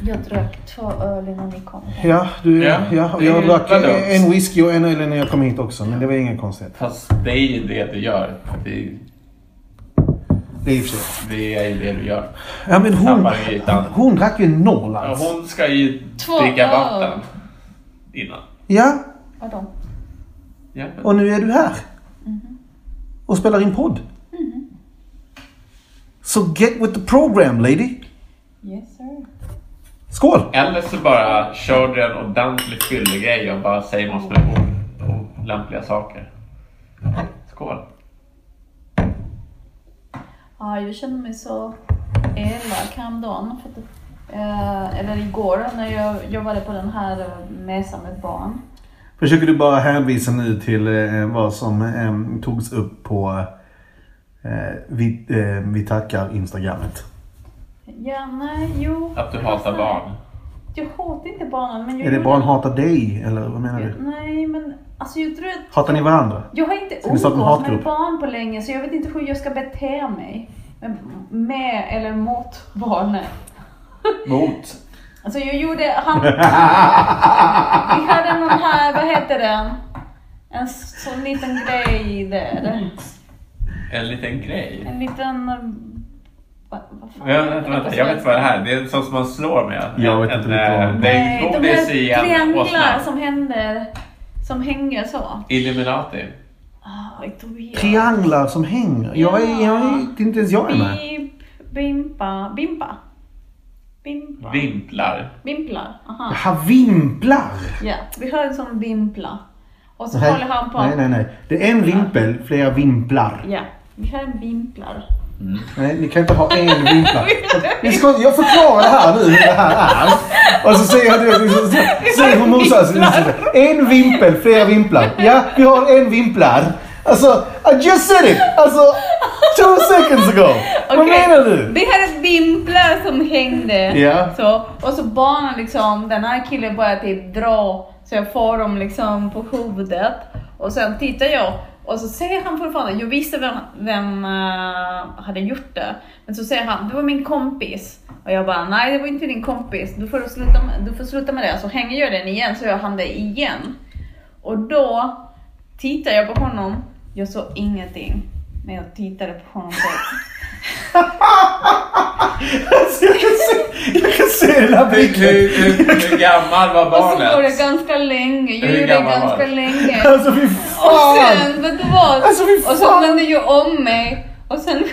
D: Jag drack två öl innan ni kom.
B: Ja, du,
A: Ja,
B: ja, och
A: det är
B: jag
A: ju
B: drack
A: vadå?
B: en whisky och en öl innan jag kom hit också, men det var inga konstigheter.
A: Fast det är ju det du gör. Det,
B: Det är i och för sig.
A: det är ju det du gör.
B: Ja, men hon,
A: Tappar i ytan.
B: hon drack ju alltså. en Norrlands.
A: Ja, Hon ska ju
D: Två
A: dricka
D: öl.
A: vatten innan.
B: Ja,
D: Vadå?
A: Ja.
B: och nu är du här. Och spelar in podd. Så get with the program lady.
D: Yes sir.
B: Skål!
A: Eller så bara kör du en ordentlig fyllig grej och bara säger massor med ord och lämpliga saker. Skål.
D: Ja, jag känner mig så elak häromdagen. För att, eh, eller igår när jag jobbade på den här eh, mässan med barn.
B: Försöker du bara hänvisa nu till eh, vad som eh, togs upp på eh, vi, eh, vi tackar Instagrammet.
D: Ja, nej, jo. Alltså,
A: Att du hatar barn.
D: Jag hatar inte barnen. Men jag
B: Är det
D: gjorde-
B: barn hatar dig eller vad menar du?
D: Nej, men alltså jag tror att...
B: Hatar ni varandra?
D: Jag har inte
B: Ska vi starta en
D: umgåtts med
B: hatgrupp?
D: barn på länge så jag vet inte hur jag ska bete mig. Med, med eller mot barnen.
A: Mot.
D: Alltså jag gjorde... Han, vi hade någon här, vad heter den? En sån liten grej där.
A: En liten grej.
D: En liten... Vad, vad fan?
A: Ja, vänta, vänta. Jag vet inte vad det här är. Det är sånt som man slår med.
B: Jag vet inte riktigt vad-
A: en, eh, det är
D: Nej, de här
A: godis i en
D: trianglar
A: åsna.
D: som händer... Som hänger så.
A: Illuminati.
D: Ah, Tobias.
B: Trianglar som hänger. Jag är, jag är, det är inte ens jag är med.
D: Bip, bimpa, bimpa. Bimpa.
A: Vimplar.
D: Vimplar, aha.
B: Jaha, vimplar!
D: Ja, vi har en sån vimpla. Och så
B: Nej,
D: håller han på.
B: nej, nej, nej. Det är en vimpel, flera vimplar.
D: Ja, vi har en vimplar.
B: Nej, ni kan inte ha en vimplar. Ni ska, jag förklarar det här nu hur det här är. Och så säger jag det. så- så- Säg hur morsan En vimpel, flera vimplar. Ja, vi har en vimplar. Alltså, I just said it! Alltså, two seconds ago. Vad
D: Okej,
B: menar du?
D: Vi hade ett vimplar som hängde.
B: Ja.
D: Så, och så barnen liksom, den här killen började typ dra så jag får dem liksom på huvudet. Och sen tittar jag och så ser han fortfarande, jag visste vem, vem eh, hade gjort det. Men så säger han, det var min kompis. Och jag bara, nej det var inte din kompis, du får sluta med, du får sluta med det. Så hänger jag den igen så gör han det igen. Och då tittar jag på honom, jag såg ingenting. Men jag tittade på honom. Så.
B: Alltså, jag, kan se, jag kan se den här
A: Hur,
B: bilden.
A: hur, hur gammal var
D: Och så Alltså, går det
A: barnet?
D: ganska länge, jag
A: Hur
D: gjorde det
A: gammal var
D: ganska
A: du?
D: länge.
B: Alltså fy
D: Och
B: fan!
D: sen, vet du vad?
B: Alltså, fy
D: och så
B: fan.
D: vände jag om mig och sen...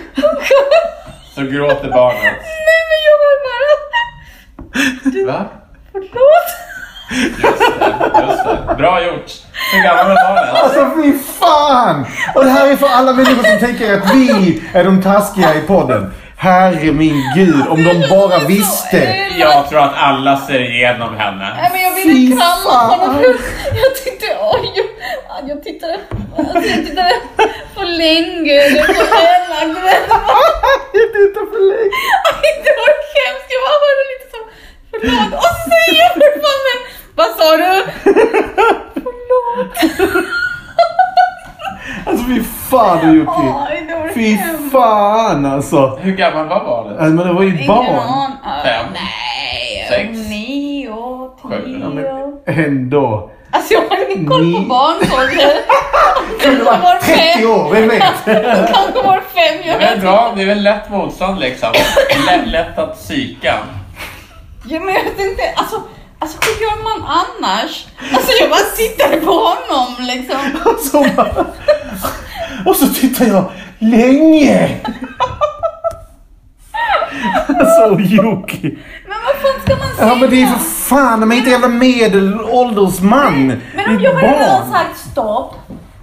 A: Så gråter barnet.
D: Nej men jag var bara...
A: Va?
D: Förlåt!
A: Just det, just det. Bra gjort. Hur gammal var barnet?
B: Alltså fy fan! Och det här är för alla människor som tänker att vi är de taskiga i podden. Herre min gud, om de bara visste.
D: Nej,
A: Jag tror att alla ser igenom henne.
D: men jag
B: Fy
D: ville krama
B: fan.
D: honom. Jag tyckte, oj, jag, jag tittade, alltså, jag tittade för länge. Det var så elakt. Det var-
B: Jag tittar för länge.
D: Det var hemskt. Jag var bara lite så, förlåt. Och så säger jag fortfarande, vad sa du?
B: Alltså fy fan du Jocke.
D: Oj, det var
B: Fy
D: hemskt.
B: fan alltså.
A: Hur gammal var barnet?
B: alltså men det var ju ett
D: Ingen
B: barn.
D: aning. Ah,
A: Fem,
D: Nej.
A: sex,
D: Nio.
A: sju. Ja,
D: Tio.
B: Ändå.
D: Alltså jag har ingen koll på
B: Ni-
D: barnålder.
B: Kunde vara 30 år, vem vet?
D: Kanske var fem.
A: Det
D: Jag
A: är väl
D: vet
A: bra, det är väl lätt motstånd liksom. Lätt, lätt att psyka.
D: Ja, men jag vet inte. Alltså, alltså hur gör man annars? Alltså jag bara sitter på honom liksom.
B: Och så Alltså, bara... Och så tittar jag länge. Alltså Jocke.
D: Men vad fan ska man säga?
B: Ja men det är för fan, de är inte jävla medelålders man.
D: Men om
B: Det är ett
D: jag hade redan
B: barn.
D: sagt stopp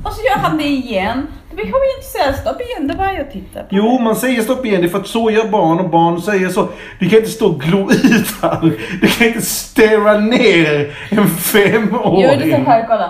D: och så gör han det igen. Då behöver jag inte säga stopp igen. Det var jag tittar på.
B: Jo, man säger stopp igen. Det är för att så gör barn och barn säger så. Du kan inte stå och glo ut här. Du kan inte stära ner en
D: Jag gjorde
B: femåring.
D: så här, kolla.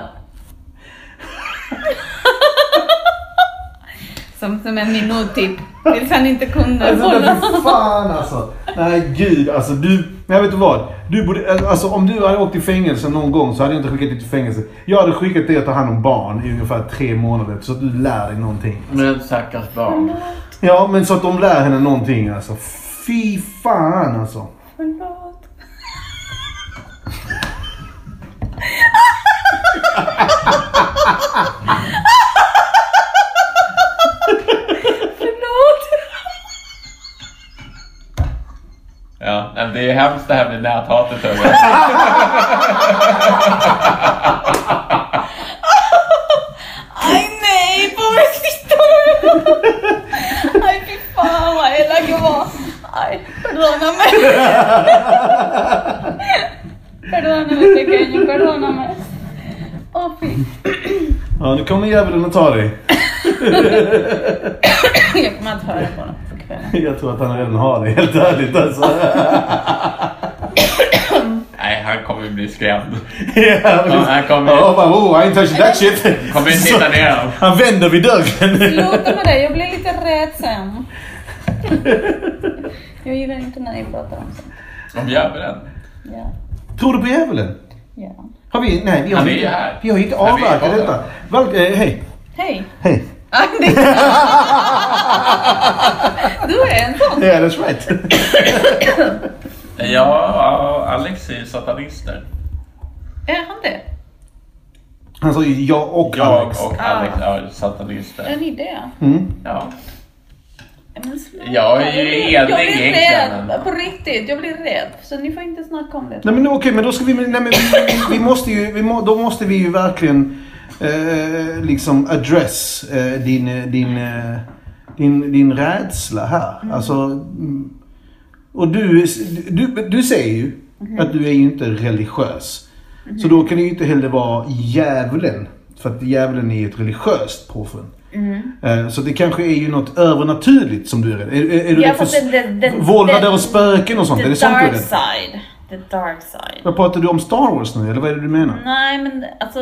C: Som, som en minut typ. Tills han inte kunde
B: Alltså men
C: hålla.
B: för fan alltså. Nej gud alltså du. Nej vet du vad? Du borde, alltså, om du hade åkt i fängelse någon gång så hade jag inte skickat dig till fängelse. Jag hade skickat dig att ta hand om barn i ungefär tre månader så att du lär dig någonting.
A: Men stackars barn.
B: Ja men så att de lär henne någonting alltså. Fy fan alltså.
D: Förlåt. Förlåt.
A: Ja, men det är hemskt det här med näthatet. Hörru.
D: Aj nej, på mig sitta Aj fy fan vad elak jag var. Aj, perdona mig.
C: Perdóname, pequeño, perdóname.
D: Åh fy.
B: Ja nu kommer djävulen att ta dig.
D: Jag kommer inte höra på honom på kvällen.
B: Jag tror att han redan har dig helt ärligt alltså.
A: Nej, han kommer bli skrämd.
B: Ja,
A: Ja, han kommer-
B: Ja, bara, oh, I ain't touching that shit.
A: Kommer inte hitta ner dem.
B: Han vänder vid dörren.
D: Sluta med det, jag blir lite rädd sen. Jag gillar inte när ni pratar om sånt.
A: Om djävulen.
D: Ja,
B: Tror du på djävulen?
D: ja.
B: Har vi? Nej, vi har,
A: Han är ju här.
B: Vi har inte
A: Men vi är
B: avverkat
A: kvar.
B: detta. Väl, eh, hej.
D: Hej.
B: Hej.
D: Aj, det- Du är en sån.
B: Ja, that's right.
A: Ja, Alex är ju satanister.
D: Är han det?
B: Han sa ju jag och
A: Jag
B: Alex.
A: och Alex är satanister.
D: Är ni det?
B: Mm.
A: Ja.
D: Men sluta.
A: Jag är ju
D: blir-
A: enig
D: Jag blir
A: egentligen.
D: rädd, på riktigt. Jag blir rädd. Så ni får inte snacka om det.
B: Nej men okej, men då ska vi... Nej, men vi, vi måste ju... Vi må, då måste vi ju verkligen eh, liksom address eh, din, eh, din, eh, din, din rädsla här. Alltså... mm. Och du, du, du säger ju
D: Mhm.
B: att du är ju inte religiös. Så då kan det ju inte heller vara djävulen. För att djävulen är ju ett religiöst påfund.
D: Mm.
B: Eh, Så det kanske är ju något övernaturligt som du är rädd Är, är, är du
D: Ja,
B: rädd för
D: fast
B: s-
D: det- det- det-
B: vålnader
D: det-
B: och spöken och sånt? Är det
D: The
B: sånt du är
D: dark
B: rädd för?
D: side. The dark side.
B: Vad pratar du om Star Wars nu eller vad är det du menar?
D: Nej, men alltså.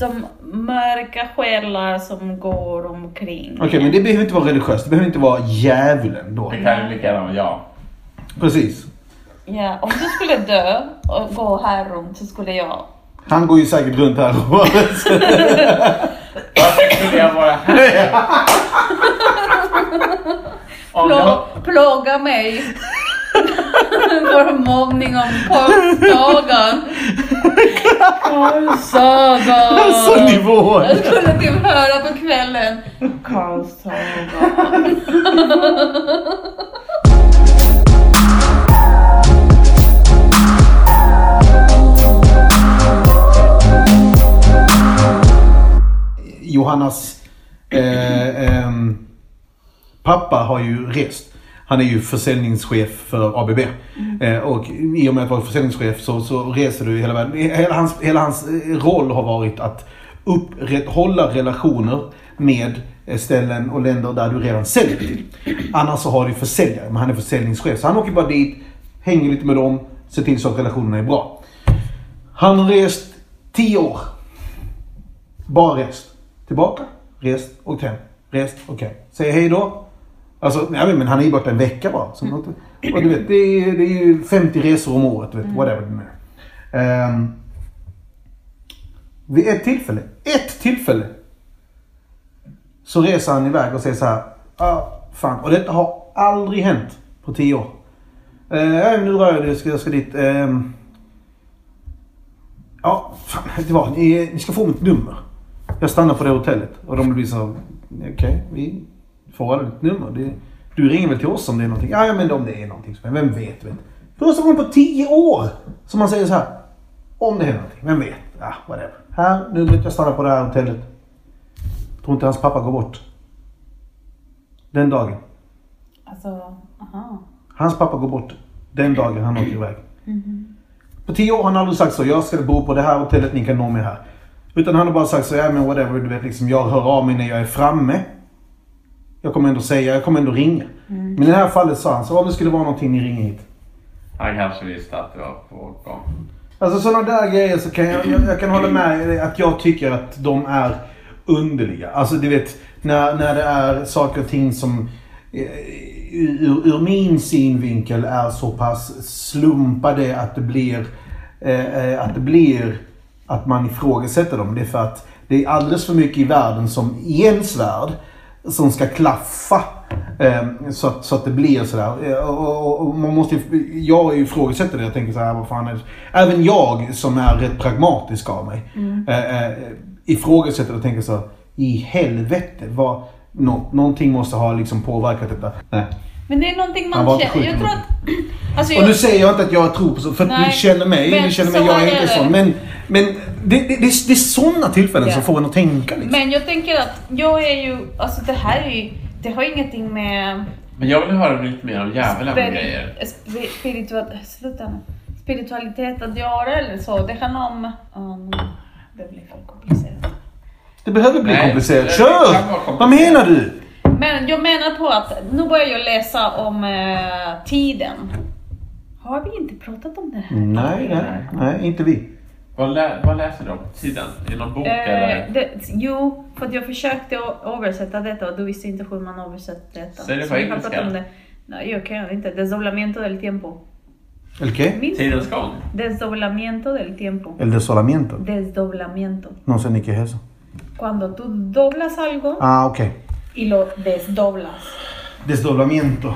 D: De mörka själar som går omkring.
B: Okej, men det behöver inte vara religiöst. Det behöver inte vara djävulen då.
A: Det kan ju lika gärna vara jag.
B: Precis.
D: Ja, om du skulle dö och gå här runt så skulle jag...
B: Han går ju säkert runt här och...
A: Varför skulle jag vara här? Om jag...
D: Plå, plåga mig för mobbning om korvsagan.
B: Alltså
D: Korvsagan.
B: nivån!
D: Jag skulle typ höra på kvällen. Korvsagan.
B: Johannas eh, ehm, pappa har ju rest. Han är ju försäljningschef för ABB. Eh, och i och med att vara försäljningschef så, så reser du i hela världen. Hela hans, hela hans eh, roll har varit att upprätthålla relationer med eh, ställen och länder där du redan säljer till. Annars så har du försäljare, men han är försäljningschef. Så han åker bara dit, hänger lite med dem, ser till så att relationerna är bra. Han har rest 10 år. Bara rest. Tillbaka, rest, åkt hem. Rest, åkt hem. Säg hej då. Alltså, nej, men han är ju borta en vecka bara. Så, och du vet, det är, det är ju 50 resor om året. du Vet, whatever det nu är. Ehm, vid ett tillfälle, ett tillfälle. Så reser han iväg och säger så här. Ah, fan. Och detta har aldrig hänt på 10 år. Eh, nu rör jag det, jag ska, jag ska dit. ehm, Ja, fan, det var, ni, ni ska få mitt nummer. Jag stannar på det hotellet. Och de blir så, okej, vi får alla ditt nummer. Det, du ringer väl till oss om det är någonting? Ja, ja, men om det är någonting. Men vem vet? vet. Första gången på tio år som man säger så här. Om det händer någonting, vem vet? Ja, whatever. Här, numret, jag stannar på det här hotellet. Tror inte hans pappa går bort. Den dagen.
D: Alltså, aha.
B: Hans pappa går bort den dagen han åker iväg. På tio år har han aldrig sagt så, jag ska bo på det här hotellet, ni kan nå mig här. Utan han har bara sagt så, ja men whatever, du vet liksom, jag hör av mig när jag är framme. Jag kommer ändå säga, jag kommer ändå ringa. Men i det här fallet sa han så, om det skulle vara någonting, ni ringer hit.
A: Han kanske visste att det var på gång.
B: Alltså sådana där grejer så kan jag, jag, jag kan hålla med dig att jag tycker att de är underliga. Alltså du vet, När, när det är saker och ting som eh, ur, ur min synvinkel är så pass slumpade att det blir eh, eh, att det blir att man ifrågasätter dem. Det är för att det är alldeles för mycket i världen som i ens värld som ska klaffa. eh, Så att, så att det blir sådär. Eh, Och, och, och man måste ju, jag ifrågasätter det. Jag tänker så här, vad fan är det? Även jag som är rätt pragmatisk av mig.
D: Mm.
B: eh, eh, Ifrågasätter och tänker så här, i helvete. Vad, nå, någonting måste ha liksom påverkat detta. Nej.
D: Men det är någonting
B: Han
D: man
B: var inte
D: känner. Jag
B: sjuk.
D: tror att... Alltså,
B: Och
D: jag,
B: nu säger jag inte att jag tror på så, för att ni
D: Nej,
B: känner mig,
D: men
B: ni känner
D: så
B: mig, jag
D: här
B: är inte
D: är det.
B: sån. Men, men det, det, det, är- det är sådana tillfällen som
D: Ja.
B: får en att tänka liksom.
D: men jag tänker att jag är ju... Alltså det här är ju... Det har ingenting med...
A: Men jag vill höra lite mer om djävulen och grejer.
D: spiri- spiritual, sluta nu. Spiritualitet att göra eller så. Det handlar om... Um, det blir för komplicerat.
B: Det behöver bli
A: Nej,
B: komplicerat.
A: det
B: Kör!
A: kan vara komplicerat.
B: Vad menar du?
D: Men jag menar på att nu börjar jag läsa om eh, tiden. Har vi inte pratat om det här?
B: Nej, nej, nej, inte vi.
A: Vad, lä- vad läser du om? Tiden? I någon bok
D: Eh,
A: eller?
D: det, jo, för att jag försökte å- översätta detta och du visste inte hur man översätter detta.
A: Säg det på
D: Så vi har
A: engelska.
D: pratat om det. Nej, jag kan inte. Desdoblamiento del tiempo.
B: Okej.
D: Minns du?
A: Tidens gång?
D: Desdoblamiento del tiempo.
B: El desolamiento.
D: Desdoblamiento.
B: No sé ni qué es eso.
D: Cuando tú doblas algo
B: Ah, okej.
D: y lo desdoblas.
B: Desolamiento.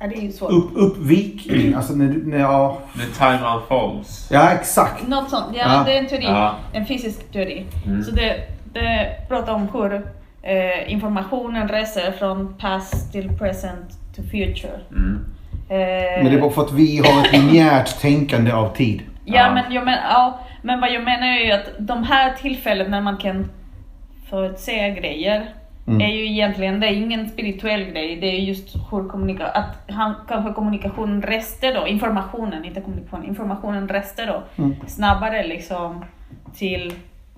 D: Ja, det är ju svårt.
B: Upp, uppvikning. Alltså när du, när, ja.
A: The time unfolds.
B: Ja, exakt.
D: Något sånt. Ja,
B: Ja.
D: Det är en teori.
A: Ja.
D: En fysisk teori. Så det, det pratar om hur eh, informationen reser från past till present to future. Eh,
B: Men det är bara för att vi har ett linjärt tänkande av tid.
D: Ja,
A: Ja.
D: Men, jag men, ja, men vad jag menar är ju att de här tillfällen när man kan förutsäga grejer
B: Mm.
D: är ju egentligen, det är ingen spirituell grej, det är just hur kommunika att han, kanske kommunikationen reste då, informationen, inte kommunikationen, informationen reste då
B: Mm.
D: snabbare liksom till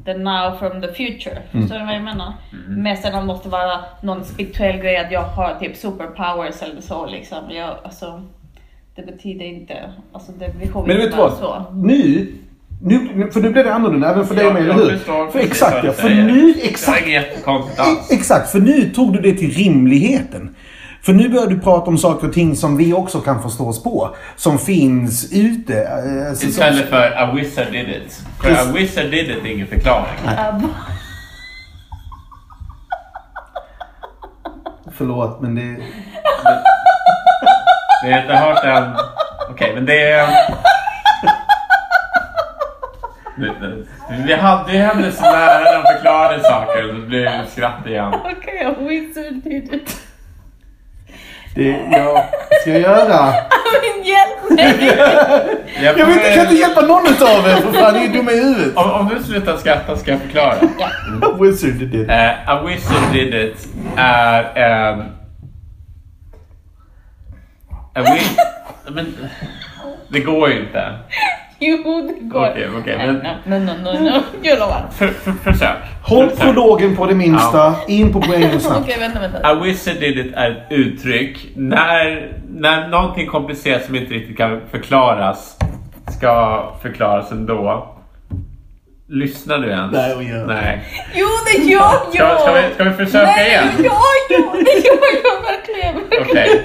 D: the now from the future.
B: Mm.
D: Förstår du vad jag menar? Men sedan måste det vara någon spirituell grej att jag har typ superpowers eller så liksom. Jag, alltså, det betyder inte, alltså det behöver
B: Men vet
D: inte
B: du
D: vara
B: vad?
D: så.
B: Nu, nu, för nu blir det annorlunda även för dig
A: Jag-
B: och mig,
A: jag
B: eller hur?
A: förstår
B: För
A: precis vad
B: exakt
A: du
B: ja, för
A: säger.
B: nu,
A: Det
B: exakt.
A: var inget jättekonstigt alls.
B: Exakt, för nu tog du det till rimligheten. För nu börjar du prata om saker och ting som vi också kan förstå oss på. Som finns ute. eh, så- så-
A: Istället för A wizard did it. För A wizard did it är ingen förklaring.
B: Förlåt, men det...
A: Vi har inte hört den. Okej, men det är... Vi hade ju henne som läraren förklarade saker och då blev det skratt igen.
D: Okej, okay, wizard did it.
B: det jag ska göra...
D: Men hjälp mig!
B: Jag vet inte, jag kan inte hjälpa någon utav er för fan, ni är dumma i huvudet.
A: om, om du slutar skratta ska jag förklara.
B: Wizard did it.
A: Eh, A wizard did it Uh, är en... A wi- men, det går ju inte.
D: Jo, det går.
A: Okej, okej,
D: Nej,
A: men-
D: nej, nej, nej, nej. Jag lovar.
A: För, för, försök.
B: Håll
A: Försök.
B: prologen på det minsta, in på poängen
D: Okej,
B: snabbt.
D: vänta, vänta.
A: A wizard did it är ett uttryck. När, när någonting komplicerat som inte riktigt kan förklaras ska förklaras ändå. Lyssnar du ens?
B: Nej, jag gör inte.
A: Nej.
D: Jo, det gör jag!
A: Ska, ska, vi, ska vi försöka
D: nej,
A: igen?
D: det gör jag! Det gör jag verkligen! verkligen.
A: Okej.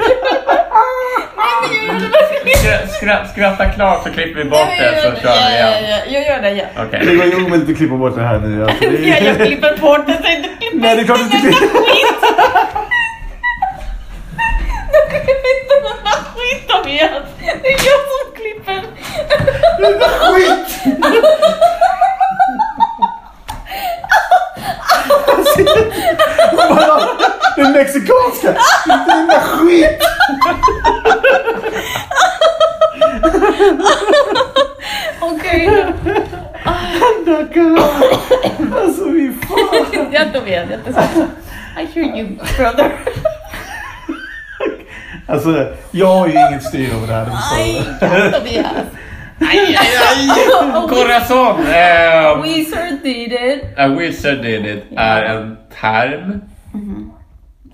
D: Nej, men jag gör det verkligen!
A: Skra- skra- Skratta klart så klipper vi bort
D: Nej, men
A: det
D: jag
A: så
D: gör det.
A: kör vi
D: Ja, ja,
A: igen.
D: ja. Jag gör det, ja.
A: Okej.
B: Det var ju omöjligt att klippa bort det här nu. Alltså. Det
D: Ja, jag
B: är...
D: klipper bort det. så jag inte klipper.
B: Nej, det är klart du inte klipper.
D: Jag klipper inte den här skit av er. Det är jag som klipper.
B: Skit! Bara, Den mexikanska! Den där skit!
D: Okej,
B: Alltså vi fan.
D: jag tog igen. Jag tog igen. I hear you, brother.
B: Alltså jag har ju inget styr över det här. det förstår
D: Aj,
B: du.
D: Tobias.
A: Aj, aj, aj! Corazon!
E: Eh,
A: ehm,
D: Wizard did it.
A: A wizard did it är en term
D: Mm-hmm.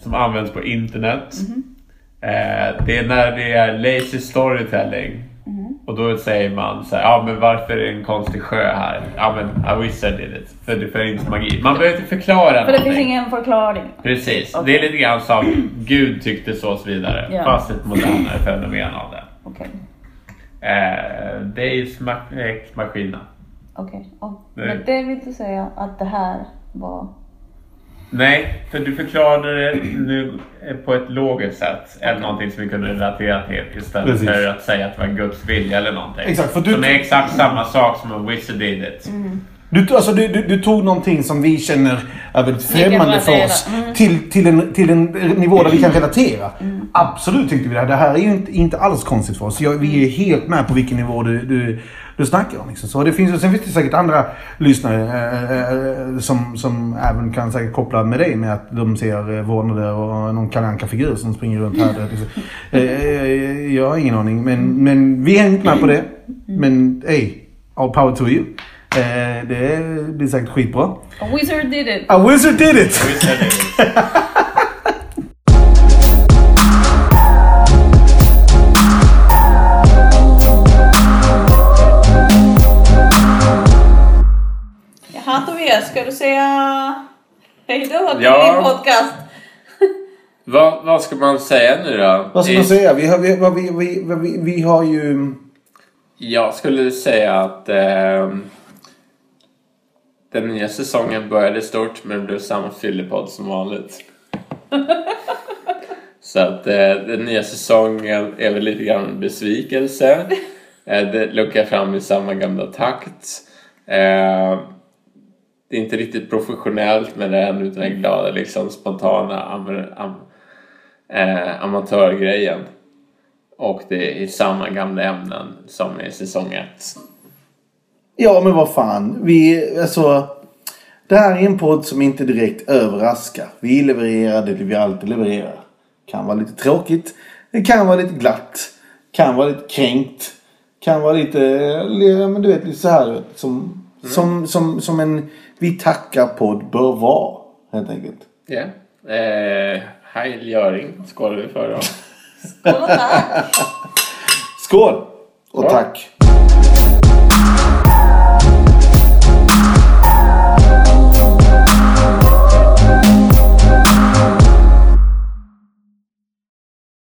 A: som används på
D: Mm-hmm.
A: internet. Eh, det är när det är lazy storytelling.
E: Och då säger man så här, ja men varför är det en konstig sjö här? Ja men a wizard did it. För det finns magi. Man behöver inte förklara
D: För det finns
E: någonting.
D: ingen förklaring.
E: Precis,
D: Okej.
E: det är lite grann som Gud tyckte så och så vidare.
D: Ja.
E: Fast ett modernare fenomen av det.
D: Okej.
E: Eh, det är ju smak- eh, maskina.
D: Okej. Och-
E: Nej.
D: Men det vill inte säga att det här var...
E: Nej, för du förklarade det nu eh, på ett logiskt sätt. Eller någonting som vi kunde relatera till istället
B: Precis.
E: för att säga att det var Guds vilja eller någonting.
B: Exakt, för du-
E: Som är exakt samma sak som en wizard did it.
B: Du, to- alltså, du, du, du tog någonting som vi känner är väldigt främmande för
D: relatera.
B: oss till, till, en, till en nivå där vi kan relatera. Absolut tyckte vi det här. Det här är ju inte, inte alls konstigt för oss. Jag, vi är helt med på vilken nivå du, du, du snackar om. Liksom. Så det finns, ju- sen finns det säkert andra lyssnare eh, eh, som, som även kan säkert koppla med dig med att de ser eh, vårdnader och någon Kalle Anka-figur som springer runt här. Liksom. Eh, eh, jag har ingen aning. Men, men vi är inte med på det. Men ey, all power to you. Eh, det blir säkert skitbra.
D: A wizard did it!
B: A wizard did it!
E: Wizard did it.
D: Jaha Tobias, ska du säga hej då till
A: Ja.
D: din podcast?
A: Vad, vad ska man säga nu då?
B: Vad ska
A: Det-
B: man säga? Vi har, vi, vad vi, vi, vad vi, vi har ju...
A: Jag skulle säga att ehm, den nya säsongen började stort men det blev samma fyllepodd som vanligt. Så att eh, den nya säsongen är väl lite grann en besvikelse. Eh, det luckar fram i samma gamla takt. Eh, det är inte riktigt professionellt men det är ändå den här glada liksom spontana am- am- eh, amatörgrejen. Och det är samma gamla ämnen som i säsong ett.
B: Ja, men vad fan. Vi, alltså... Det här är en podd som inte direkt överraskar. Vi levererar det vi alltid levererar. Kan vara lite tråkigt. Det kan vara lite glatt. Kan vara lite kränkt. Kan vara lite... eh, ja, Men du vet, lite så här som, som, som, som en Vi tackar-podd bör vara. Helt enkelt.
A: Ja. Eh, Heil Göring skålade vi för då.
D: Kolla där!
B: Skål! Och tack!